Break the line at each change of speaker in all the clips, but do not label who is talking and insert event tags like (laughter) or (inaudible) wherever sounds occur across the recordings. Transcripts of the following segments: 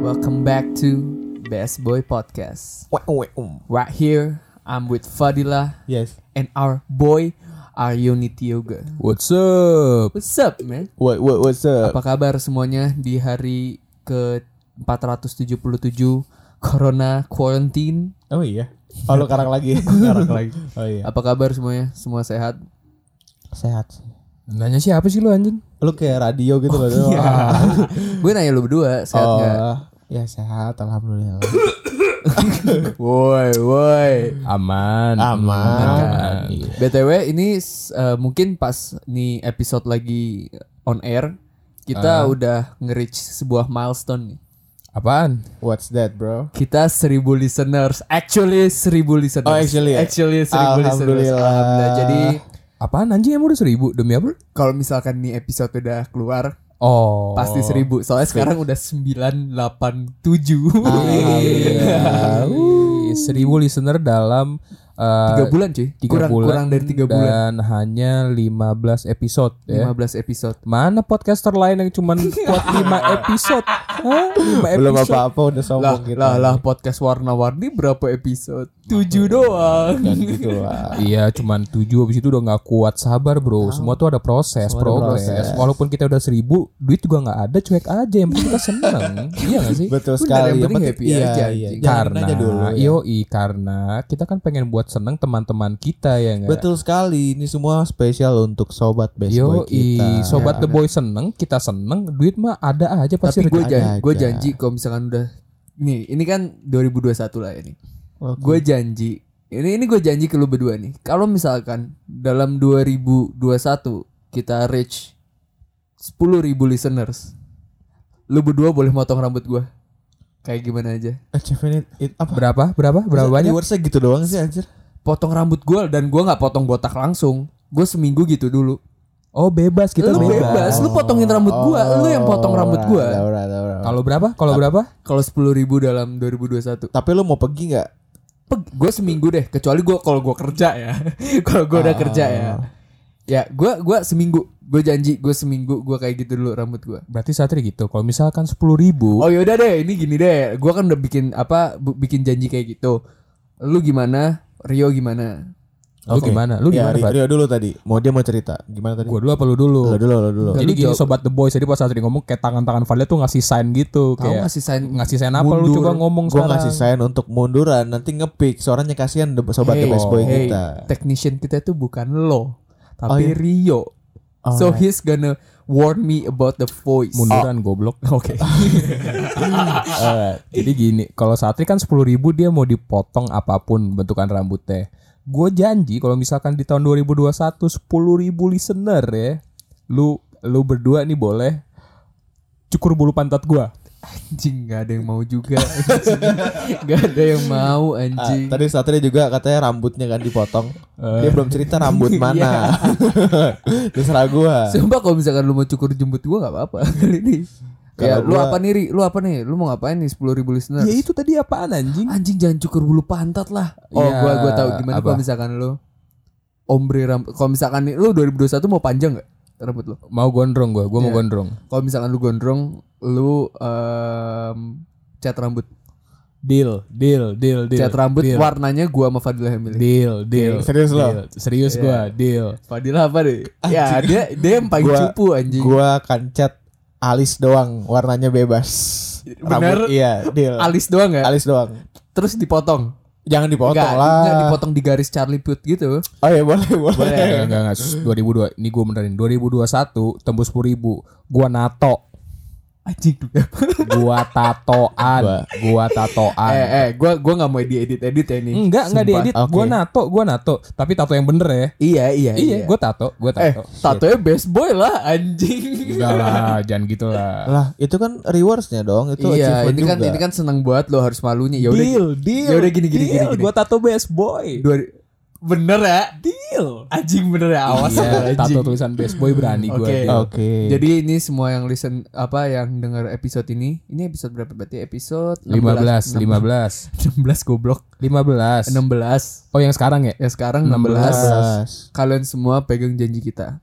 Welcome back to Best Boy Podcast.
Wek, wek, um.
Right here, I'm with Fadila
Yes.
and our boy Aryonit Yoga.
What's up?
What's up, man?
What, what what's up?
Apa kabar semuanya di hari ke 477 Corona Quarantine?
Oh iya. Oh lu karang lagi. (laughs) karang lagi. Oh iya.
Apa kabar semuanya? Semua sehat?
Sehat sih.
Nanya siapa sih lu anjing?
Lu kayak radio gitu loh. Iya.
Gue nanya lu berdua, sehat
Oh.
nggak?
Ya sehat alhamdulillah.
Woi, woi.
Aman.
Aman. Iya.
BTW ini s- eh, mungkin pas nih episode lagi on air,
Ah.
kita udah nge-reach sebuah milestone nih.
Apaan?
What's that, bro?
Kita 1000 listeners. Actually 1000 listeners.
Oh, actually ya?
Actually 1000 listeners.
Alhamdulillah.
Alhamdulillah. Jadi
Apaan anjing emang udah seribu demi apa?
kalau misalkan nih episode udah keluar
Oh.
pasti 1000. Soalnya sekarang udah 987.
Alhamdulillah.
Wih, Seribu listener dalam eh,
Tiga bulan cuy.
tiga
kurang
bulan
kurang dari 3 bulan.
Dan hanya 15 episode ya.
15 episode.
Mana podcaster lain yang cuman buat 5 episode? Hah? 5
Belum
episode.
apa-apa udah
Lah,
sombong gitu.
lah, lah podcast warna-warni berapa episode? 7 doang.
Dan gitu
(laughs)
lah.
Iya, cuman 7 habis itu udah nggak kuat sabar, Bro. Semua tuh ada proses, progres.
proses.
Walaupun kita udah 1000, duit juga nggak ada, cuek aja. Yang penting kita seneng. iya gak sih?
Betul
Bener,
sekali.
yang penting happy
iya,
aja,
Iya,
anjing.
Jalanin
karena
aja dulu. ya.
yoi karena kita kan pengen buat seneng teman-teman kita ya nggak
Betul sekali. Ini semua spesial untuk sobat best boy
yoi
kita.
sobat the boy seneng kita seneng duit mah ada aja pasti
Tapi gue
rezeki.
jangan-
janji,
aja.
gue janji kalau misalkan udah nih, ini kan 2021 lah ini.
Oke.
Gue janji. Ini ini gue janji ke lu berdua nih. Kalau misalkan dalam 2021 kita reach 10.000 listeners. Lu berdua boleh motong rambut gue. Kayak gimana aja.
Eh, Kevin, it- it- apa?
berapa berapa berapa banyak
Viewersnya gitu doang sih anjir.
Potong rambut gue dan gue nggak potong botak langsung. Gue seminggu gitu dulu.
oh bebas kita
lu
bebas, Oh, iya.
bebas. Lu potongin rambut gue. Lu yang potong rambut gue.
Ora, ora, ora, ora.
kalau berapa kalau berapa
Kalau 10.000 dalam 2021.
Tapi lu mau pergi nggak?
gue seminggu deh kecuali gue kalau gue kerja ya (laughs) kalau gue udah kerja ya
Ah.
ya gue gua seminggu gue janji gue seminggu gue kayak gitu dulu rambut gue
berarti satri gitu kalau misalkan sepuluh ribu
oh yaudah deh ini gini deh gue kan udah bikin apa bu- bikin janji kayak gitu lu gimana Rio gimana
lu Oh, gimana lu
Ya,
gimana
Ri-
Fat?
Rio dulu tadi. Mau dia mau cerita. Gimana tadi?
gua dulu apa lu dulu
Lo dulu, lo dulu.
jadi gini sobat the boys jadi pas satri ngomong kayak tangan-tangan Fadil tuh ngasih sign gitu
Tahu
kayak
ngasih sign-
ngasih sign apa lu
mundur.
coba ngomong
Gue
sekarang
ngasih sign untuk munduran nanti ngepick soalnya kasihan de- sobat the best boy
hey,
kita.
technician kita tuh bukan lo tapi
Oh, iya. Oh,
Rio so he's gonna warn me about the voice
munduran goblok (laughs)
oke
Eh, jadi gini, kalau Satri kan 10.000 ribu dia mau dipotong apapun bentukan rambutnya. Gue janji kalau misalkan di tahun 2021 10.000 ribu listener ya, lu lu berdua nih boleh cukur bulu pantat gua.
anjing gak ada yang mau juga anjing. (laughs) gak ada yang mau
Ah,
anjing
tadi Satria juga katanya rambutnya kan dipotong. dia belum cerita rambut mana. (laughs) Terserah gua.
Sumpah kalau misalkan lu mau cukur jembut gua gak apa-apa (laughs) kali ini. Kayak
Kalau
lu
gua-
apa nih Ri? Lu apa nih? Lu mau ngapain nih 10.000 ribu listener?
Ya itu tadi apaan anjing?
Anjing jangan cukur bulu pantat lah. Oh
Ya,
gua gua tahu gimana
apa?
kalau misalkan lu ombre rambut. Kalau misalkan nih lu 2021 mau panjang gak rambut lu?
Mau gondrong gua, gua mau
Iya.
gondrong.
Kalau misalkan lu gondrong, lu em, cat rambut.
Deal, deal, deal, deal.
cat rambut
deal,
warnanya gua sama Fadila yang milih.
deal, deal.
Serius lo?
Deal. Serius gua, deal.
Fadila apa deh? Ya dia dia yang paling
Gua-
cupu anjing.
Gua kan cat alis doang, warnanya bebas.
Bener?
iya, deal.
Alis doang ya?
Alis doang.
Terus dipotong.
Jangan dipotong
Nggak,
lah.
nggak, dipotong di garis Charlie Puth gitu.
Oh iya boleh, boleh.
Eh, Enggak, enggak, enggak. 2002, ini gua benerin. 2021 tembus 10.000 ribu. Gua nato.
Anjing
gua tatoan gua tatoan
eh eh gua gua nggak mau diedit edit ya ini
enggak enggak
Sumpah.
diedit
Oke.
gua nato gua nato tapi tato yang bener ya
iya iya
iya gua Oh, tato gua
eh
tato
tatonya best boy lah anjing
(laughs) enggak lah jangan gitu lah
Lah, itu kan rewardsnya dong, itu
iya
achievement
ini kan
juga.
ini kan seneng buat lo harus malunya ya udah
deal
ya udah gini gini gini, gini.
gua tato best boy
Dua- bener ya deal anjing bener ya awas ya,
iya, tato
anjing
tulisan best boy berani gua
Oke.
deal.
Oke.
jadi ini semua yang listen apa yang dengar episode ini ini episode berapa berarti episode
15 (laughs) 15
16 goblok
15
16
oh yang sekarang ya
ya sekarang 16.
16.
kalian semua pegang janji kita.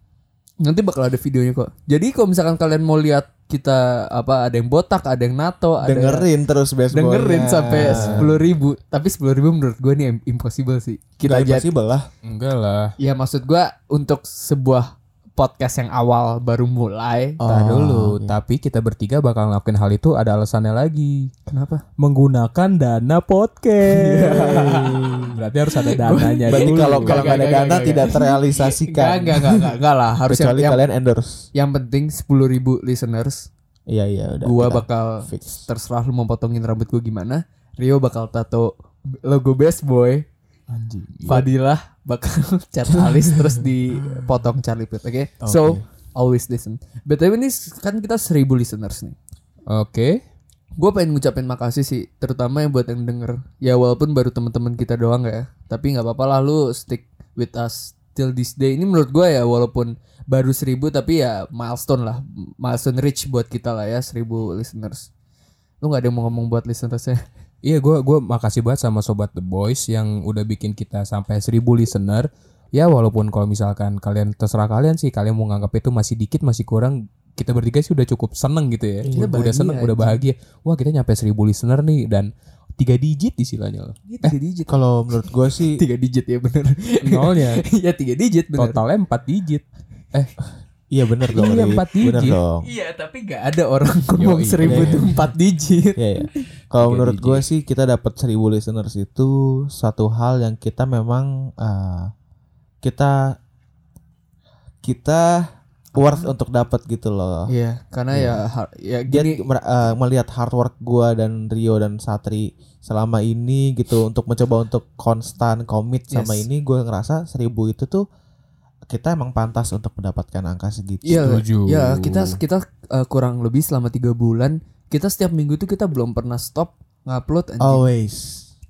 Nanti bakal ada videonya kok. Jadi kalau misalkan kalian mau lihat kita apa ada yang botak, ada yang nato, ada yang-
dengerin Iya. terus baseball
dengerin sampai sepuluh ribu. Tapi sepuluh ribu menurut gue nih im- impossible sih. Kita jadi
kita jadi lah
Enggak lah.
Ya maksud gua untuk sebuah podcast yang awal baru mulai.
Oh,
Tar dulu, tapi kita bertiga bakal ngelakuin hal itu ada alasannya lagi.
Kenapa?
Menggunakan dana podcast. Berarti harus ada dananya
berarti
dulu.
kalau
Enggak,
kalau nggak ada
enggak,
dana
enggak,
tidak
Enggak,
terrealisasikan
enggak, enggak, enggak, enggak
(laughs)
lah. Harus yang,
kecuali
yang,
kalian endorse
yang penting 10.000 ribu listeners.
iya iya udah
Gua
kita
bakal
fix.
terserah lu mau potongin rambut gua gimana. Rio bakal tato logo Best Boy.
Anjing.
Fadilah bakal (laughs) cat alis terus dipotong Charlie Puth. Oke. So always listen. BTW ini kan kita 1000 listeners nih.
Oke.
Gue pengen ngucapin makasih sih, terutama yang buat yang denger. Ya walaupun baru teman-teman kita doang ya, tapi nggak apa-apa lah lu stick with us till this day. Ini menurut gue ya walaupun baru seribu tapi ya milestone lah, milestone rich buat kita lah ya seribu listeners. Lu nggak ada yang mau ngomong buat ya? listenersnya?
Iya, gua gua makasih banget sama sobat The Boys yang udah bikin kita sampai 1000 listener. Ya walaupun kalau misalkan kalian terserah kalian sih, kalian mau nganggap itu masih dikit, masih kurang, kita bertiga sih udah cukup seneng gitu ya.
Kita
udah
bahagia
seneng, udah bahagia. Wah, kita nyampe 1000 listener nih dan tiga digit istilahnya loh.
Iya tiga digit,
kalau menurut gue sih
(laughs) tiga digit ya bener. (laughs)
Nolnya
Iya tiga digit bener.
(laughs) totalnya 4 digit. Eh,
iya bener dong
Iya,
Rit.
empat
bener
digit.
dong
Iya tapi nggak ada orang ngomong
Yoi.
seribu tuh empat digit.
Iya, iya. Kalau
Tiga
menurut
digit.
gue sih kita dapat 1000 listeners itu satu hal yang kita memang eh, kita kita worth untuk dapat gitu loh.
Iya, karena ya har- ya
Dia
gini.
mer- eh, melihat hard work gue dan Rio dan Satri selama ini gitu untuk mencoba untuk konstan komit sama
Yes.
ini gue ngerasa 1000 itu tuh kita emang pantas untuk mendapatkan angka segitu.
Iya,
Setuju.
ya kita kita uh, kurang lebih selama tiga bulan kita setiap minggu tuh kita belum pernah stop ngupload
Oh.
anjing.
Always.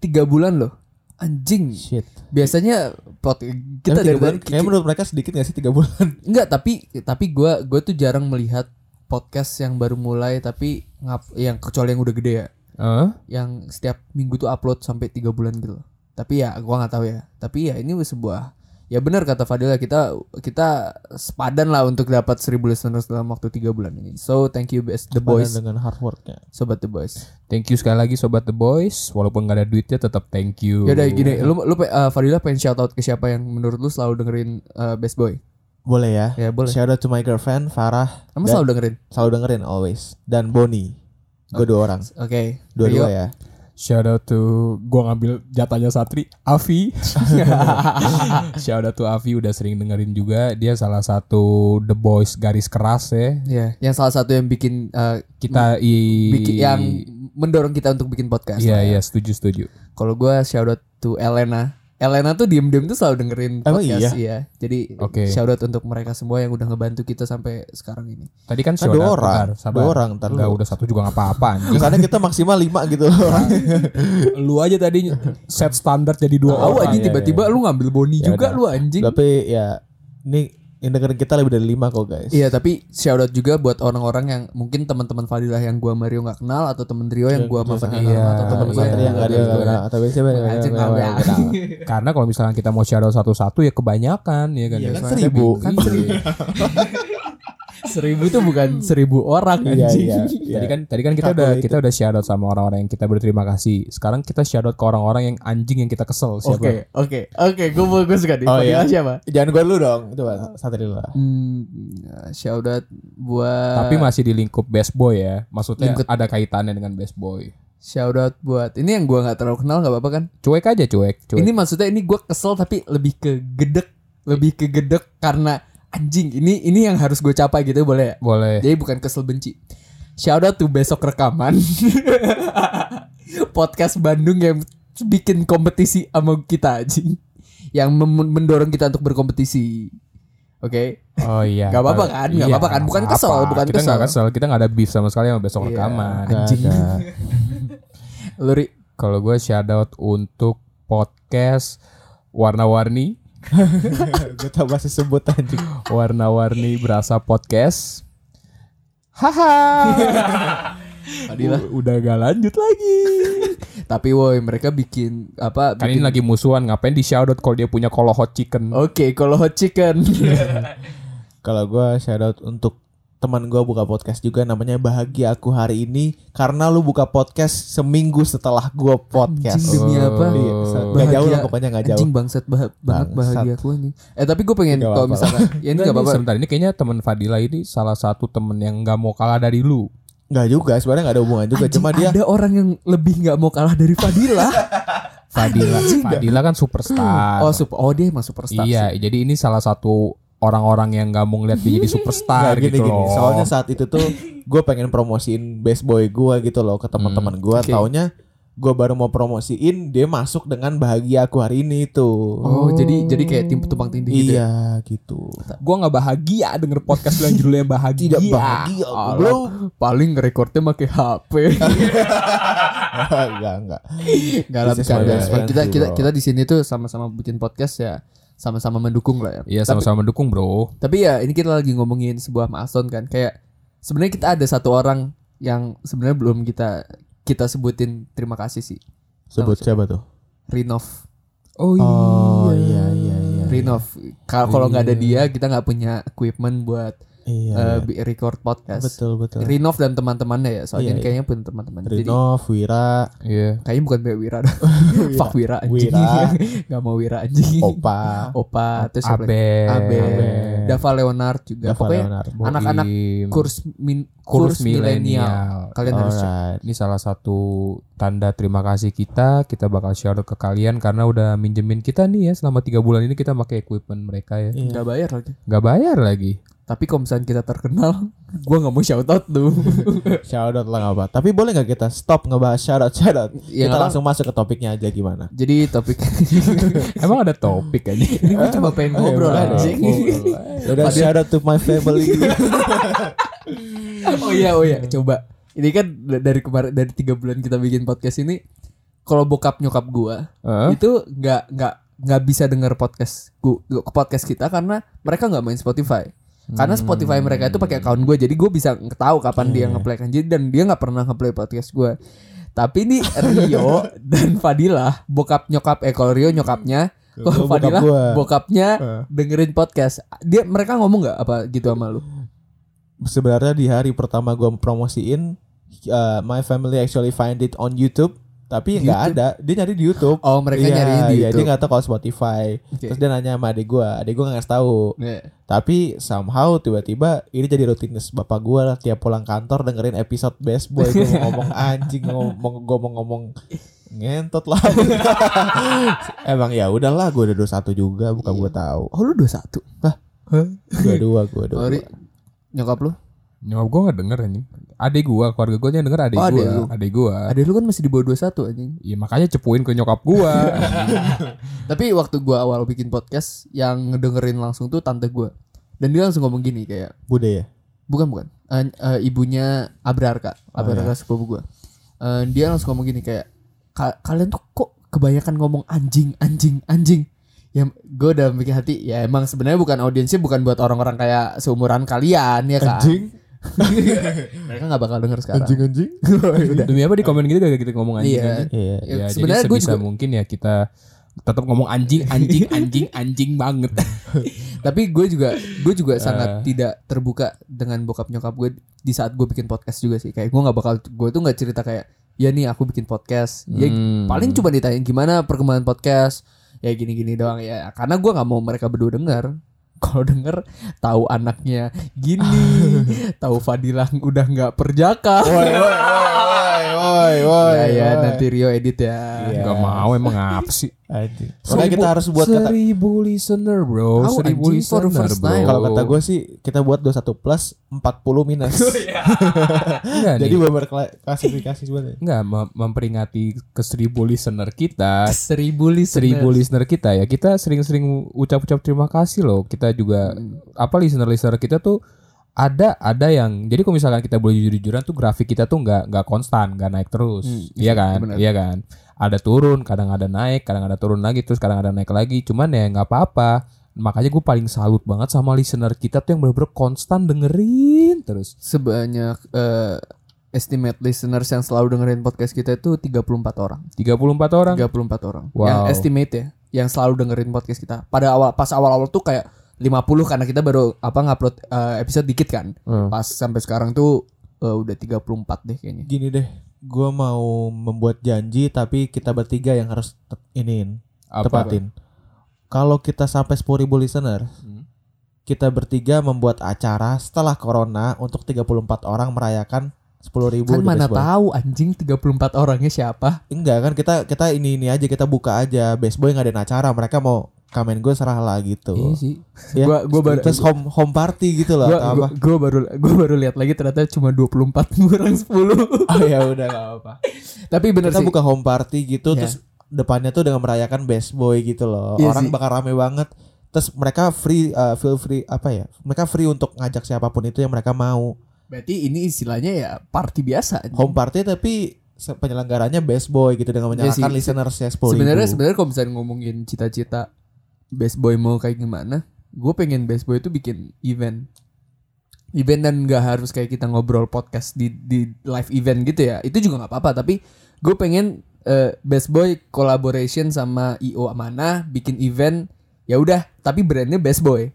Tiga bulan loh, anjing.
Shit.
Biasanya pot Iya. kita
Kita
dari bulan
bulan, kayaknya menurut mereka sedikit gak sih tiga bulan?
enggak tapi tapi gue gue tuh jarang melihat podcast yang baru mulai tapi ngap yang kecuali yang udah gede ya
eh,
yang setiap minggu tuh upload sampai tiga bulan gitu. Tapi ya gua nggak tahu ya. Tapi ya ini sebuah ya benar kata Fadila kita kita sepadan lah untuk dapat 1000 listeners dalam waktu tiga bulan ini. So thank you best the boys,
dengan hard worknya.
sobat the boys.
thank you sekali lagi sobat The Boys. Walaupun gak ada duitnya tetap thank you.
Yaudah Ya gini, lu lu pe- eh, Fadila pengen shout out ke siapa yang menurut lu selalu dengerin eh, best boy?
Boleh ya?
Ya boleh.
Shout out to my girlfriend Farah
Kamu
Dan-
selalu dengerin.
selalu dengerin always dan Bonnie. Gue dua orang.
Oke.
Dua-dua
Rio.
ya.
Shout out to gua ngambil jatahnya Satri,
(laughs)
Avi. Shout out to Avi udah sering dengerin juga. Dia salah satu The Boys garis keras ya.
Ya, yang salah satu yang bikin eh,
Kita i
bikin yang mendorong kita untuk bikin podcast.
Iya
lah ya.
iya setuju setuju.
Kalau gua shout out to Elena. Elena tuh diem-diem tuh selalu dengerin
Emang
podcast
iya?
Jadi
Oke.
shout out untuk mereka semua yang udah ngebantu kita sampai sekarang ini.
Tadi kan
Kan
shout
dua
out
orang.
bentar, sabar.
Dua orang ntar
Enggak
lu.
udah satu juga nggak apa-apa anjing.
Karena kita maksimal lima
(laughs)
gitu loh orang.
lu aja tadi set standar jadi dua
Tahu
orang.
anjing tiba-tiba lu ngambil Boni
Ya
juga
udah.
lu anjing.
Tapi ya ini yang dengerin kita lebih dari lima kok guys.
Iya, tapi shout out juga buat orang-orang yang mungkin teman-teman Fadilah yang gua Mario nggak kenal atau temen Rio yang gua sama Fadilah
iya,
atau temen
Teman
gua
Satri yang gak ada
Iya.
atau siapa yang
Anjing, ya.
nggak ada-
nggak
nggak
(laughs)
ada.
Karena kalau misalnya kita mau shout out satu-satu ya kebanyakan ya kan.
Iya,
Ya,
kan
soalnya
seribu.
bingung.
Kan
Iya.
seribu. seribu itu bukan seribu orang
Iya
anjing.
iya.
Tadi
iya.
kan tadi kan kita
Satu
udah
itu.
kita udah shout out sama orang-orang yang kita berterima kasih. Sekarang kita shout out ke orang-orang yang anjing yang kita kesel siapa?
Oke, oke, oke. Gue mau gue suka nih.
Oh,
Fadilah
iya.
siapa?
Jangan gue dulu dong. Coba Satri dulu lah.
Hmm, shout out buat
Tapi masih di lingkup best boy ya. Maksudnya
Lingkup-
ada kaitannya dengan best boy.
shout out buat ini yang gua nggak terlalu kenal nggak apa-apa kan?
Cuek aja cuek, cuek.
Ini maksudnya ini gua kesel tapi lebih ke gedek, lebih ke gedek karena anjing ini ini yang harus gue capai gitu boleh ya?
boleh.
Jadi bukan kesel benci. Shout out tuh besok rekaman (laughs) podcast Bandung yang bikin kompetisi sama kita anjing yang mem- mendorong kita untuk berkompetisi. Oke.
Oh iya.
Gak apa-apa kan? Gak apa-apa kan? Bukan kesel, bukan
kita
kesel.
nggak kesel, kita nggak ada beef sama sekali sama besok
Iya,
rekaman.
anjing.
Nggak ada.
Lu, Ri,
Kalau gue shout out untuk podcast warna-warni,
gue tau masih sebut anjing.
warna-warni berasa podcast.
(laughs)
Haha.
Fadilah.
U- Udah gak lanjut lagi.
(laughs) Tapi woi mereka bikin apa?
Kan
bikin-
ini lagi musuhan ngapain di shout out kalau dia punya
Oh,
kolo hot chicken. (laughs) Iya,
Oke, kalau hot chicken.
Kalau gue shout out untuk teman gua buka podcast juga namanya bahagia aku hari ini karena lu buka podcast seminggu setelah gua podcast.
Anjing,
Oh.
demi apa?
Iya, gak jauh lah pokoknya gak jauh.
Anjing bangsat bah- banget
Bangsat.
bahagia aku anjing. Eh tapi gue pengen
Nggak
kalau
apa-apa
misalkan ya ini
Enggak,
enggak
ini
apa-apa.
Sebentar ini kayaknya teman Fadila ini salah satu temen yang nggak mau kalah dari lu.
Gak juga, sebenarnya gak ada hubungan juga.
Anjing,
Cuma dia
ada orang yang lebih nggak mau kalah dari
(laughs)
Fadila.
Fadila, Fadila kan superstar.
oh, sup oh dia emang superstar.
iya, jadi ini salah satu orang-orang yang nggak mau ngeliat dia jadi
Nah,
superstar
gini
gitu
gini
loh.
soalnya saat itu tuh gue pengen promosiin best boy gue gitu loh ke teman-teman gue
Hmm, oke.
taunya gue baru mau promosiin dia masuk dengan bahagia aku hari ini tuh
Oh, jadi jadi kayak tim tumpang tindih gitu. ya?
iya gitu (laughs)
gue nggak bahagia denger podcast lu yang
(laughs)
judulnya bahagia.
tidak bahagia
Allah.
belum
Paling ngerekordnya pakai HP.
(laughs)
enggak enggak
Enggak lah
This is
bercanda.
my best friend
Kita
too,
kita
bro.
kita di sini tuh sama-sama bikin podcast ya, sama-sama mendukung lah ya.
Iya
Tapi-
sama-sama mendukung bro.
Tapi ya ini kita lagi ngomongin sebuah milestone kan. Kayak sebenarnya kita ada satu orang yang sebenarnya belum kita kita sebutin terima kasih sih.
sebut siapa tuh
Rinov.
Oh
oh iya iya iya
Rinov. Ka- Kalau nggak ada dia kita nggak punya equipment buat
iya
eh,
iya.
bi- record podcast.
betul betul
Rinov dan teman-temannya ya. Soalnya
Iya,
ini
iya.
kayaknya punya teman-teman. Jadi
Rinov Wira
Iya.
kayaknya bukan Mbak Wira. (laughs) dah. Fuck Wira anjing. (laughs)
Wira. Oh,
Gak mau Wira anjing.
Opa
Opa, terus siapa lagi?
Abel.
Abel.
Abel.
Dava Leonard juga.
Dava
Pokoknya
Leonardo.
anak-anak
Boim.
kurs min- kurs
Kurs
milenial.
milenial.
Kalian harus cek.
Alright.
Ini salah satu tanda terima kasih kita. Kita bakal share ke kalian karena udah minjemin kita nih ya selama tiga bulan ini kita pakai equipment mereka ya.
Iya.
Nggak bayar lagi.
Gak bayar lagi.
Tapi kalau misalnya kita terkenal, (laughs) gua nggak mau shout out tuh.
Shout out lah nggak apa. Tapi boleh nggak kita stop ngebahas shout out shout out?
Ya,
kita
nggak
langsung masuk ke topiknya aja gimana?
Jadi topik (laughs)
Emang ada topik aja.
ini gua cuma pengen ngobrol
Ayo,
anjing.
Iya, ngobrol. Ya Udah shout out to my family.
oh iya oh
Hmm.
iya coba. Ini kan da- dari kemarin dari tiga bulan kita bikin podcast ini kalau bokap nyokap gua
Heeh.
itu nggak nggak nggak bisa denger podcast gua podcast kita karena mereka nggak main Spotify. Karena Spotify mereka itu pakai account gue, jadi gue bisa tahu kapan
Iya.
dia ngeplay kan. Jadi dan dia nggak pernah ngeplay podcast gue. Tapi ini
(laughs)
Rio dan Fadila, bokap nyokap eh kalau Rio nyokapnya, kalau
(laughs) Gua bokap
Fadila
gua.
bokapnya dengerin podcast. Dia mereka ngomong nggak apa gitu sama lu?
Sebenarnya di hari pertama gue promosiin, uh, my family actually find it on YouTube. Tapi nggak ada, dia nyari di YouTube.
Oh mereka
Iya,
nyariin di
iya,
YouTube.
dia nggak tahu kalau Spotify.
Oke.
Terus dia nanya sama adik gue, adik gue nggak ngasih tahu.
Iya.
Tapi somehow tiba-tiba ini jadi rutinitas bapak gue lah tiap pulang kantor dengerin episode Best Boy gue mau
(laughs)
ngomong anjing ngomong gue mau ngomong ngentot lah. (laughs) Emang ya udahlah gue udah 21 juga bukan gue tahu.
Oh lu 21
Gue dua gue dua.
Sorry Nyokap lu
Nyokap gue gak denger anjing. Adek gue, keluarga gue yang denger adek
Oh,
gua
adek
gue.
lu.
Adek gue.
Ada lu kan masih di bawah 21 anjing
Ya makanya cepuin ke nyokap
(laughs)
gue.
Tapi waktu gua awal bikin podcast Yang ngedengerin langsung tuh tante gua Dan dia langsung ngomong gini kayak
Bude ya.
Bukan bukan Eh, eh, Ibunya Abrarka Abrarka sepupu gua Eh, Dia langsung ngomong gini kayak "Ka- Kalian tuh kok kebanyakan ngomong anjing anjing anjing ya gue udah bikin hati ya emang sebenarnya bukan audiensnya bukan buat orang-orang kayak seumuran kalian ya kan mereka nggak bakal denger sekarang
anjing.
Demi apa di komen gitu gak kita ngomong anjing
Iya.
anjing.
Iya.
Ya,
Ya,
sebenarnya
jadi
gue
sebisa
juga
mungkin ya kita tetap ngomong anjing anjing anjing anjing banget.
tapi gue juga gue
(laughs)
juga sangat
Eh.
tidak terbuka dengan bokap nyokap gue di saat gue bikin podcast juga sih kayak gue nggak bakal gue tuh nggak cerita kayak ya nih aku bikin podcast (laughs) ya
Hmm.
paling cuma ditanya gimana perkembangan podcast ya gini-gini doang ya karena gue nggak mau mereka berdua denger (laughs) kalau denger tahu anaknya
(laughs)
gini tahu Fadilah udah nggak perjaka
Woi woi woi woi
Iya,
woi.
ya ya
woi.
nanti Rio edit ya
Iya.
Gak mau emang apa
(laughs)
sih?
Anjing. Makanya kita harus buat kata
seribu listener bro,
Tahu,
seribu
anjing, for
listener
the first
bro.
time.
kalau kata gue sih kita buat 21 plus 40
(laughs)
minus.
Iya.
enggak
Jadi
nih,
berklasifikasi sebenarnya.
enggak mem- memperingati ke seribu listener kita,
seribu listener
seribu listener kita ya kita sering-sering ucap-ucap terima kasih loh. Kita juga apa listener-listener kita tuh ada ada yang jadi kalau misalkan kita boleh jujur-jujuran tuh grafik kita tuh nggak nggak konstan nggak naik terus
Hmm,
iya kan
benar.
iya kan ada turun kadang ada naik kadang ada turun lagi terus kadang ada naik lagi cuman ya nggak apa-apa makanya gue paling salut banget sama listener kita tuh yang bener-bener konstan dengerin terus
sebanyak eh, estimate listeners yang selalu dengerin podcast kita itu 34 orang
34 orang
34 orang.
Wow.
Yang estimate ya, yang selalu dengerin podcast kita. Pada awal pas awal-awal tuh kayak 50 karena kita baru apa ngupload eh, episode dikit kan.
Hmm.
Pas sampai sekarang tuh eh, udah 34 deh kayaknya.
Gini deh, gua mau membuat janji tapi kita bertiga yang harus te- iniin, tepatin. Kalau kita sampai 10.000 listener,
Hmm.
kita bertiga membuat acara setelah corona untuk 34 orang merayakan 10.000 ribu
Kan mana tahu anjing 34 orangnya siapa?
Enggak kan kita kita ini ini aja kita buka aja baseball yang ngadain acara mereka mau kamen gue serah lah gitu.
Iya sih.
Ya,
Gua gua baru
Terus home home party gitu loh
gua,
atau
gua,
apa?
gua baru gua baru lihat lagi ternyata cuma (laughs) 24 kurang 10.
(laughs) Oh ya udah gak apa-apa.
Tapi bener
Kita
sih.
buka home party gitu
Ya.
terus depannya tuh dengan merayakan best boy gitu loh.
Iya sih.
Orang bakal rame banget. Terus mereka free uh, feel free apa ya? Mereka free untuk ngajak siapapun itu yang mereka mau.
Berarti ini istilahnya ya party biasa. anjing.
Home party tapi se- penyelenggaranya best boy gitu dengan
Iya sih.
menyalakan listeners ya 10.000.
Sebenarnya sebenarnya kalau misalnya ngomongin cita-cita best boy mau kayak gimana, gue pengen best boy itu bikin event, event dan nggak harus kayak kita ngobrol podcast di di live event gitu ya. Itu juga nggak apa-apa. Tapi gue pengen eh, best boy collaboration sama io mana bikin event ya udah tapi brandnya best boy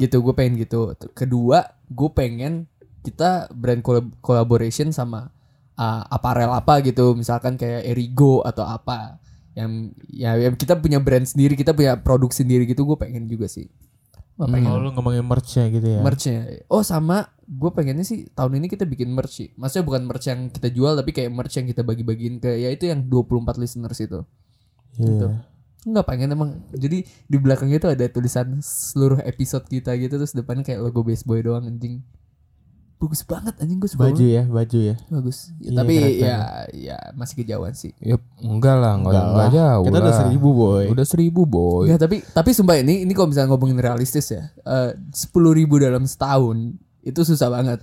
gitu gue pengen gitu kedua gue pengen kita brand collab- collaboration sama uh, aparel apa gitu misalkan kayak Erigo atau apa yang ya yang kita punya brand sendiri kita punya produk sendiri gitu gue pengen juga sih Gua pengen
Oh, lu ngomongin merch-nya gitu ya.
merchnya oh sama gue pengennya sih tahun ini kita bikin merch sih maksudnya bukan merch yang kita jual tapi kayak merch yang kita bagi-bagiin ke ya itu yang 24 listeners itu
Iya.
gitu. Enggak pengen emang. Jadi di belakangnya itu ada tulisan seluruh episode kita gitu terus depannya kayak logo Base Boy doang anjing. Bagus banget anjing gue suka
Baju ya, baju ya.
banget. Bagus. Ya,
Iya,
tapi
keren, keren. Iya.
ya ya masih kejauhan sih.
Yep, enggak lah, enggak, enggak,
lah.
jauh.
Kita udah
lah.
seribu boy.
Udah seribu boy.
Enggak, tapi tapi sumpah ini ini kalau misalnya ngomongin realistis ya. Sepuluh ribu dalam setahun itu susah banget.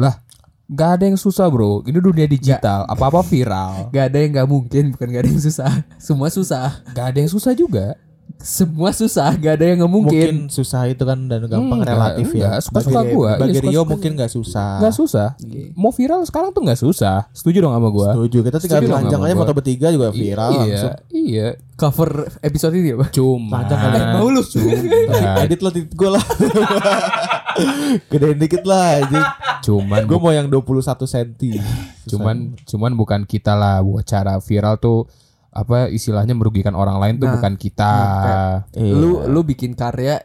Lah, enggak ada yang susah, Bro. Ini dunia digital, apa-apa viral.
Gak ada yang gak mungkin, bukan gak ada yang susah. Semua susah,
Enggak ada yang susah juga.
semua susah. Gak ada yang gak mungkin.
mungkin susah itu kan dan gampang
Enggak,
relatif ya.
enggak, suka-suka
Bagi-
gua.
Bagi
Iya,
Rio
suka-suka.
mungkin nggak susah.
Enggak susah.
Iya.
Mau viral sekarang tuh enggak susah. Setuju dong sama gua?
Setuju. Kita tinggal
Setuju
telanjang
sama
aja
gua.
foto bertiga juga viral
iya,
langsung.
Iya.
Cover episode ini apa? Eh,
Cuma
Telanjang kali.
Mau lu?
Cuman,
(laughs) Edit lo titik gue lah. Gedein dikit lah aja.
cuman
Gue mau yang 21 cm.
cuman cuman bukan kita lah buat cara viral tuh apa istilahnya merugikan orang lain tuh
Nah,
bukan kita.
eh,
lu
Iya.
lu bikin karya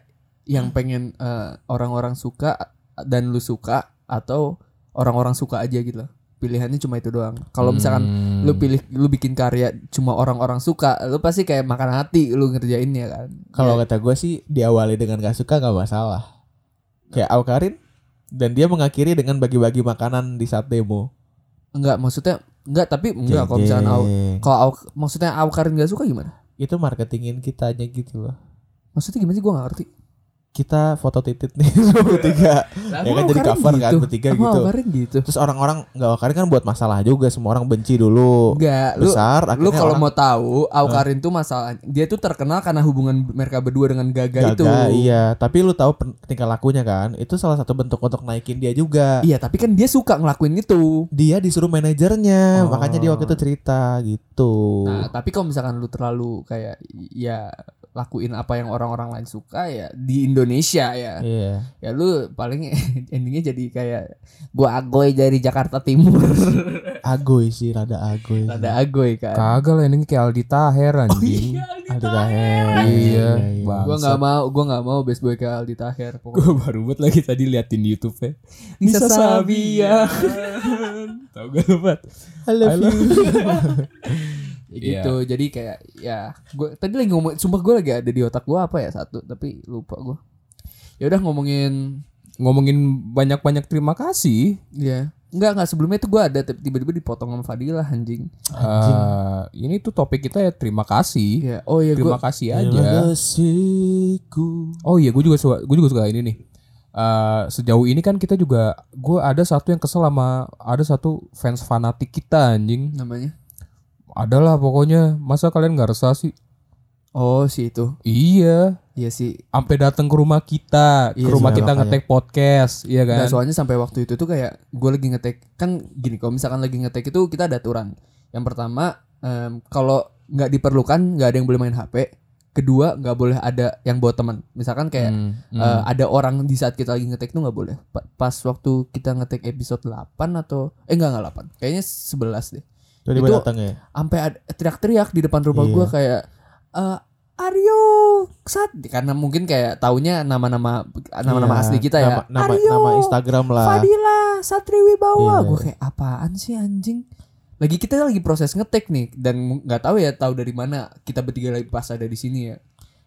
yang pengen eh, orang-orang suka dan lu suka atau orang-orang suka aja gitu loh. pilihannya cuma itu doang kalau misalkan
Hmm.
lu pilih lu bikin karya cuma orang-orang suka lu pasti kayak makan hati lu ngerjainnya kan
Kalau
Ya,
kata gue sih diawali dengan gak suka gak masalah. Kayak Aukarin dan dia mengakhiri dengan bagi-bagi makanan di saat demo.
enggak maksudnya enggak tapi enggak kalau misalkan au,
Jeng-jeng.
kalau au, maksudnya au Karin gak suka gimana
itu marketingin kitanya gitu loh.
maksudnya gimana sih gue gak ngerti
Kita foto titit nih (laughs) semua bertiga. ya kan jadi cover kan bertiga
Emang
gitu.
au Karin gitu
Terus orang-orang nggak Aukarin kan buat masalah juga semua orang benci dulu.
enggak lu
besar
lu
akhirnya
kalau
orang Eh.
mau tahu Au Karin tuh masalah dia tuh terkenal karena hubungan mereka berdua dengan Gaga, itu
gagal iya tapi lu tahu pen- tingkah lakunya kan itu salah satu bentuk untuk naikin dia juga
Iya, tapi kan dia suka ngelakuin itu
dia disuruh manajernya
Oh.
makanya dia waktu itu cerita gitu
nah tapi kalau misalkan lu terlalu kayak ya lakuin apa yang orang-orang lain suka ya di Indonesia ya
iya
ya lu paling (laughs) endingnya jadi kayak gua agoy dari Jakarta Timur
agoy sih rada agoy
ada agoy kan
Kagak lah ini kayak Aldi Taher anjing. (laughs)
Aldi Taher
Iya,
bang
gua nggak mau gua nggak mau best boy ke Aldi Taher pokoknya
Gue baru buat lagi tadi liatin di YouTube ya.
Nisa Sabian.
Tahu gak lu, Pat?
I love you
Ya gitu jadi kayak ya gue tadi lagi ngomong sumpah gue lagi ada di otak gue apa ya satu tapi lupa gue ya udah ngomongin
Ngomongin banyak-banyak terima kasih.
ya nggak nggak sebelumnya itu gue ada tapi tiba-tiba dipotong sama Fadila anjing Ah,
Eh, ini tuh topik kita ya terima kasih.
ya oh ya gue
terima kasih
Terima
aja.
kasihku.
Oh iya, gue juga suka, gue juga suka ini nih. Eh, sejauh ini kan kita juga, gue ada satu yang kesel sama ada satu fans fanatik kita anjing.
namanya
Adalah pokoknya masa kalian nggak resah sih?
oh si itu
Iya,
iya sih
sampai datang ke rumah kita,
Iya
ke rumah
sih,
kita
makanya.
ngetek podcast, iya
Nggak,
kan?
soalnya sampai waktu itu tuh kayak gue lagi ngetek kan gini kalau misalkan lagi ngetek itu kita ada aturan yang pertama em, kalau nggak diperlukan nggak ada yang boleh main HP kedua nggak boleh ada yang bawa teman misalkan kayak
Hmm, hmm.
eh, ada orang di saat kita lagi ngetek tuh nggak boleh Pa- pas waktu kita ngetek episode 8 atau eh enggak enggak 8 kayaknya 11 deh
Tiba-tiba
Itu-
datang ya.
sampai ada- teriak-teriak di depan rumah
Iya.
gua kayak eh Aryo Sat karena mungkin kayak taunya nama-nama nama-nama
Iya,
asli kita ya.
Nama, nama,
Aryo,
nama Instagram lah.
Fadila, Satriwibawa.
Iya.
Gue kayak apaan sih anjing? Lagi kita lagi proses ngetek nih dan nggak tahu ya tahu dari mana kita bertiga lagi pas ada di sini ya.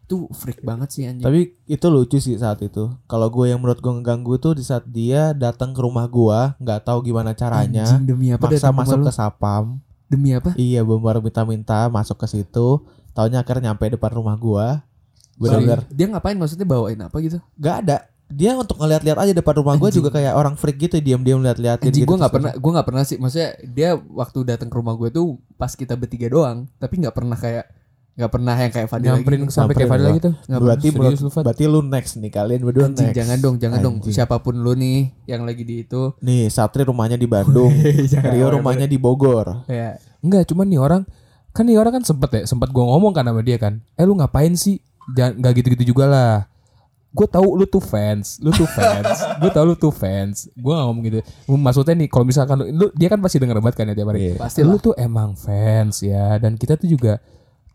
Itu freak banget sih anjing.
Tapi itu lucu sih saat itu. Kalau gue yang menurut gue ngeganggu tuh di saat dia datang ke rumah gue, nggak tahu gimana caranya,
anjing demi apa datang
maksa
ke rumah
masuk
lu?
ke sapam.
demi apa?
Iya, gue baru minta-minta masuk ke situ. Taunya akhirnya nyampe depan rumah gue. Gue
Sorry,
denger
Dia ngapain maksudnya bawain apa gitu?
nggak ada. Dia untuk ngeliat-liat aja depan rumah gue
Anjing.
juga kayak orang freak gitu, diam-diam liat-liat.
Anjing
gitu,
gue nggak
terus-
pernah gue nggak pernah sih maksudnya dia waktu datang ke rumah gue tuh pas kita bertiga doang tapi nggak pernah kayak nggak pernah yang kayak Fadila
nyamperin
gitu.
sampai kayak
Nyamperin
Fadila
gua.
gitu.
Nggak pernah.
Berarti
Serius lu, Fat?
berarti lu next nih kalian berdua
Anjing,
next.
jangan dong jangan dong
Anjing.
siapapun lu nih yang lagi di itu
Nih Satri rumahnya di Bandung,
(laughs) Jangan,
Rio
boleh,
rumahnya di Bogor.
ya
Enggak, cuman nih orang kan nih orang kan sempet ya, sempet gue ngomong kan sama dia kan. Eh lu ngapain sih? Jangan nggak gitu-gitu juga lah. Gue tahu lu tuh fans, lu tuh fans. (laughs) gue tahu lu tuh fans. Gue gak ngomong gitu. Maksudnya nih kalau misalkan lu, lu- dia kan pasti denger banget kan ya tiap hari.
Iya.
Pastilah.
Lu tuh emang fans ya dan kita tuh juga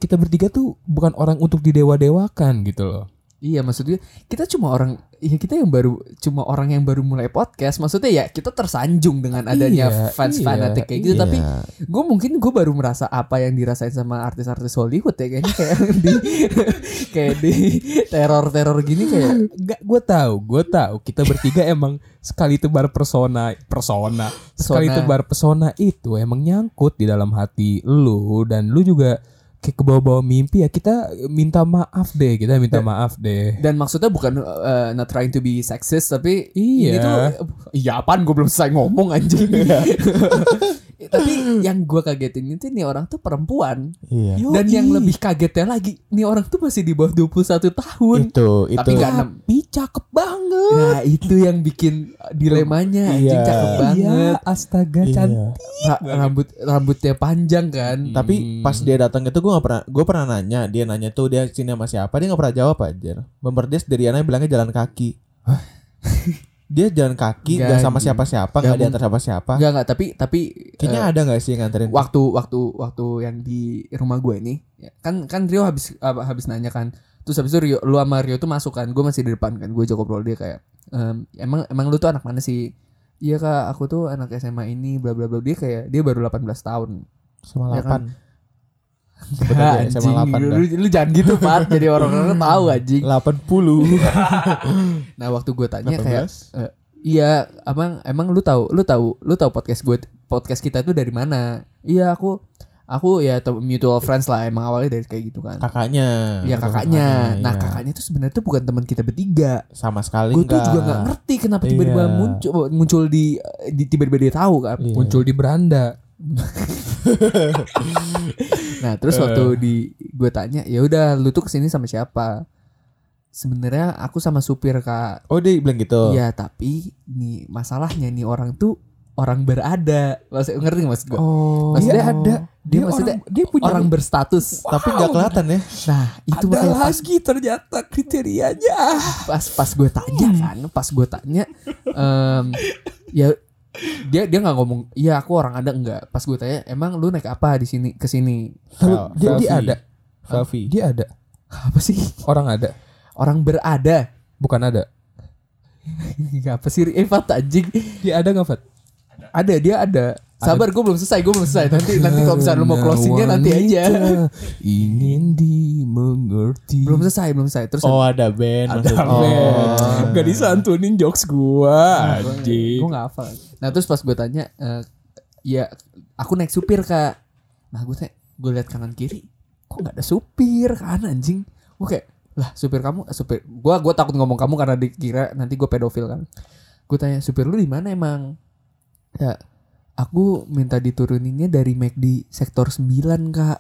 kita bertiga tuh bukan orang untuk didewa-dewakan gitu loh.
iya maksudnya kita cuma orang ya kita yang baru cuma orang yang baru mulai podcast maksudnya ya kita tersanjung dengan adanya
Iya,
fans
iya,
fanatik kayak gitu
iya.
tapi gue mungkin gue baru merasa apa yang dirasain sama artis-artis Hollywood ya kayaknya kayak di (laughs) kayak di teror-teror gini kayak
Enggak, gue tahu, gue tahu. Kita
(laughs)
bertiga emang sekali tebar persona, persona, sekali
Persona.
tebar pesona itu emang nyangkut di dalam hati lu dan lu juga kayak ke bawah-bawah mimpi ya. Kita minta maaf deh, kita minta maaf deh.
Dan maksudnya bukan uh, not trying to be sexist tapi
Iya.
ini tuh iya apaan gue belum selesai ngomong anjing. (laughs) tapi yang gue kagetin itu nih orang tuh perempuan.
Iya.
Dan
Yoi.
yang lebih kagetnya lagi, nih orang tuh masih di bawah 21 tahun.
Itu itu.
Tapi nggak enam.
tapi cakep banget.
Nah, itu yang bikin dilemanya anjing
Iya.
cakep banget.
Iya, astaga
Iya.
cantik.
Ra- rambut rambutnya panjang kan.
Tapi pas dia datang itu gue gak pernah gue pernah nanya dia nanya tuh dia sini sama siapa dia gak pernah jawab aja. Memperdes dari anaknya bilangnya jalan kaki. (laughs) dia jalan kaki
Nggak,
gak sama
anjing.
siapa-siapa
Nggak
gak diantar siapa-siapa.
Enggak enggak, tapi tapi eh,
Kayaknya ada gak sih yang nganterin?
waktu waktu waktu yang di rumah gue ini ya, kan kan Rio habis apa, habis nanya kan terus habis itu Rio lu sama Rio tuh masuk kan gue masih di depan kan gue jago ngobrol dia kayak "Em, emang emang lu tuh anak mana sih iya kak aku tuh anak SMA ini bla bla bla dia kayak dia baru 18 tahun Ya kan?
sama lapan.
Hah,
Sebenarnya SMA 8
lu,
dah.
lu jangan gitu Pat jadi orang-orang
(laughs)
tuh tahu anjing (laughs)
80
nah waktu gue tanya kayak
18
Iya, emang emang lu tahu, lu tahu, lu tahu podcast gue, podcast kita itu dari mana? Iya, aku aku ya tem- mutual friends lah emang awalnya dari kayak gitu kan.
kakaknya
Iya
Itu
kakaknya. Nah,
iya.
kakaknya itu sebenarnya tuh bukan teman kita bertiga.
sama sekali
Gue tuh
enggak.
juga nggak ngerti kenapa tiba-tiba
Iya.
muncul muncul di, di tiba-tiba dia tahu kan.
Iya.
Muncul di beranda.
Nah, terus
Eh.
waktu di gue tanya, "Ya udah, lu tuh kesini sama siapa?" Sebenarnya aku sama supir, Kak.
Oh dia bilang gitu.
Iya, tapi nih masalahnya nih orang tuh orang berada. Maksud ngerti nggak maksud gue?
Oh.
Maksudnya
Iya.
ada dia,
Dia
maksudnya
orang- dia punya-
orang berstatus.
Tapi nggak kelihatan ya.
Nah, itu makanya pas
ternyata kriterianya.
pas pas gue tanya kan, pas gue tanya em, ya dia dia nggak ngomong, "Iya, aku orang ada enggak?" Pas gue tanya, "Emang lu naik apa di sini ke sini?"
Fel-
dia,
Felvi.
dia ada,
Felvi.
dia ada.
Apa sih?
Orang ada,
Orang berada. (laughs)
bukan ada.
apa sih? Eh, Fat anjing.
Dia ada nggak, Fat?
Ada, dia ada. Sabar, gue belum selesai, gue belum selesai. Nanti nanti kalau misalnya lu mau
Karena
closingnya nanti aja.
wanita Ingin dimengerti.
Belum selesai, belum selesai. Terus
Oh ada band. maksudnya.
Damn,
Oh.
Gak disantunin jokes gua anjing.
Gitu.
Gue gak hafal. Nah terus pas gue tanya, eh, ya aku naik supir kak. Nah gue tanya, gue lihat kanan kiri, kok nggak ada supir kan anjing? Gue kayak, lah supir kamu, eh, supir. Gue gua takut ngomong kamu karena dikira nanti gue pedofil kan. Gue tanya supir lu di mana emang? Ya aku minta dituruninnya dari McD sektor 9 kak.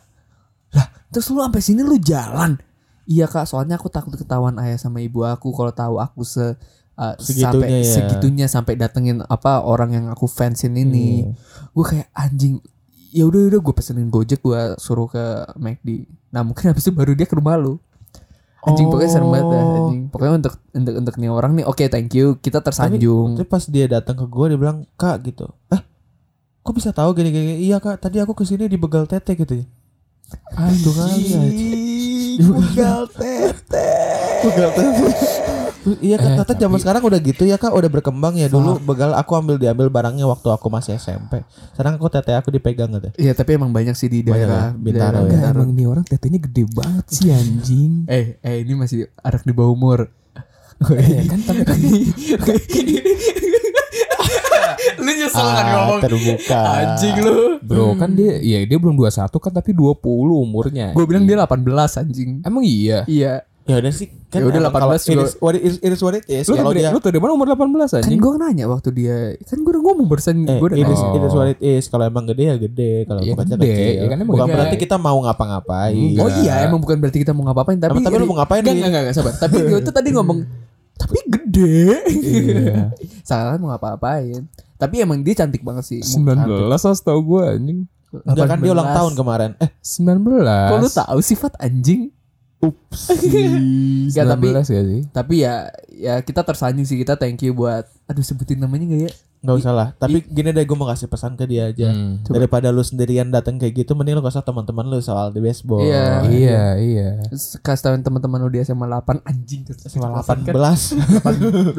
Lah terus lu sampai sini lu jalan? Iya kak, soalnya aku takut ketahuan ayah sama ibu aku kalau tahu aku se eh, sampai
Segitunya ya.
segitunya sampai datengin apa orang yang aku fansin ini.
Iya.
Gue kayak anjing. Ya udah udah gue pesenin Gojek gue suruh ke McD. Nah mungkin habis itu baru dia ke rumah lu. Anjing pokoknya serem banget
Oh.
dah, anjing. Pokoknya untuk untuk untuk nih orang nih oke thank you. Kita tersanjung.
Tapi pas dia datang ke gue dia bilang kak gitu. Eh kok bisa tahu gini gini? Iya kak tadi aku kesini dibegal tete gitu. Aduh kali ya. Begal tete. Begal tete. Iya kak, ternyata zaman sekarang udah gitu ya kak, udah berkembang ya dulu begal aku ambil diambil barangnya waktu aku masih SMP. Sekarang aku tete aku dipegang gitu.
Iya tapi emang banyak sih di
Banyak
daerah
ya, Bintaro
daerah
ya.
Enggak,
Bintaro.
emang ini orang tetenya gede banget sih anjing.
Eh eh ini masih anak di bawah umur.
Eh,
Iya kan tapi kan
(laughs) lu nyesel kan ngomong
Ah, terbuka.
anjing lu.
bro kan dia ya dia belum 21 kan tapi 20 umurnya.
Gue bilang dia 18 anjing.
Emang iya.
Iya.
Ya udah sih.
Ya udah,
emang kalau
18 juga.
It is what it is, it is what it is.
Lu
Kalau
tuh dari,
dia
lu tuh dari mana umur 18
Kan
anjing?
gue nanya waktu dia kan gue udah ngomong barusan
Eh,
gue udah
it is,
nanya.
it is what it is. Kalau emang gede ya gede, kalau
Iya,
kecil
gede.
kecil.
Ya kan emang
Bukan
gede.
berarti kita mau ngapa-ngapain.
Oh
Enggak.
iya, emang bukan berarti kita mau ngapain tapi
Tapi, tapi lu mau ngapain
Enggak,
nih?
enggak, enggak, enggak, sabar. Tapi dia tuh tadi ngomong tapi gede.
Iya.
(laughs) Salah kan mau ngapa-ngapain. Tapi emang dia cantik banget sih.
19 lah tau gue anjing.
Enggak kan dia ulang tahun kemarin. Eh,
19.
Kok lu tahu sifat anjing?
ups.
(laughs) Enggak, tapi
19 ya sih.
tapi ya ya kita tersanjung sih kita thank you buat aduh sebutin namanya enggak ya?
Enggak usah lah. Tapi gini deh gue mau kasih pesan ke
Iya.
dia aja.
Hmm.
Coba.
Daripada lu sendirian datang kayak gitu mending lu kasih teman-teman lu soal di baseball.
Iya.
Iya, iya.
Terus Kasih tahuin teman-teman lu di SMA 8 anjing terus
Soal
8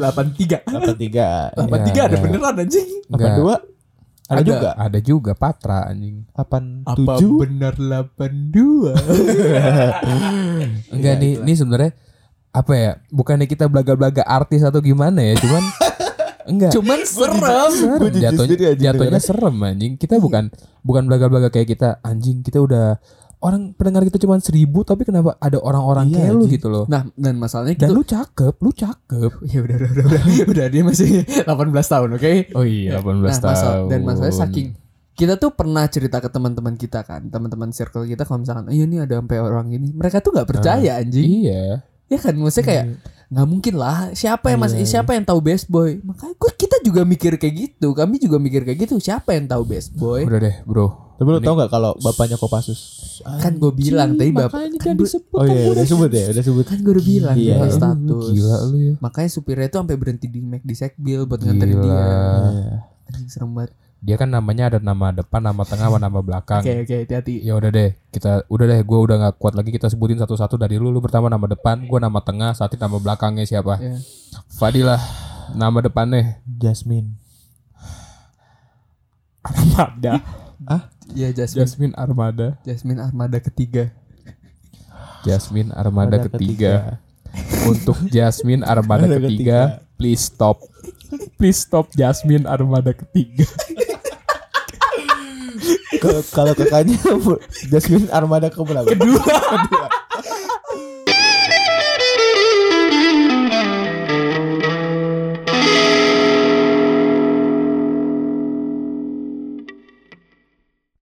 kan
18, (laughs)
83.
83,
83 ada
Iya.
beneran anjing.
Enggak.
82. Ada
Ada.
juga.
Ada juga Patra anjing.
87.
benar 82?
Enggak nih, nih sebenarnya apa ya? Bukannya kita blaga-blaga artis atau gimana ya, cuman enggak.
(laughs) Cuman serem.
serem
jujur
jatuhnya
sendiri anjing
jatuhnya serem anjing kita bukan bukan blaga-blaga kayak kita anjing kita udah orang pendengar kita cuma seribu tapi kenapa ada orang-orang
Iya,
kayak lu
anjing.
gitu loh
Nah, dan masalahnya (laughs)
dan
gitu.
lu cakep lu cakep
Ya udah, udah, udah, udah, (laughs) udah dia masih 18 tahun, oke?
oh iya 18
nah, masal- Dan masalahnya saking kita tuh pernah cerita ke teman-teman kita kan, teman-teman circle kita kalau misalkan, "Oh, iya nih ada sampai orang ini. Mereka tuh nggak percaya anjing.
iya
Ya kan, maksudnya kayak nggak mungkin lah. Siapa yang mas, siapa yang tahu best boy? Makanya gua- kita juga mikir kayak gitu. Kami juga mikir kayak gitu. Siapa yang tahu best boy?
udah deh bro
Tapi lu tau gak kalau bapaknya Kopassus?
Kan gue bilang tadi bap- kan
makanya jangan
gua-
disebut
Oh iya, udah sebut ya, udah sebut.
kan gue udah bilang
Iya,
dalam
iya.
status.
Gila lu ya.
Makanya supirnya tuh sampai berhenti di Mac di Sekbil buat nganterin
gila
dia.
iya.
Anjing serem banget.
dia kan namanya ada nama depan nama tengah sama nama belakang
Oke Iya. oke hati-hati.
ya udah deh kita udah deh gue udah nggak kuat lagi kita sebutin satu-satu dari lu lu pertama nama depan gue nama tengah saat nama belakangnya siapa
Ya.
Fadilah nama depannya
Jasmine.
Armada
Iya Jasmine.
Jasmine Armada
Jasmine Armada ketiga.
Jasmine
Armada
Armada ketiga untuk Jasmine Armada
Armada
ketiga please stop please stop Jasmine Armada ketiga
Ke- kalau kakaknya Jasmine Armada ke berapa? Kedua. Kedua.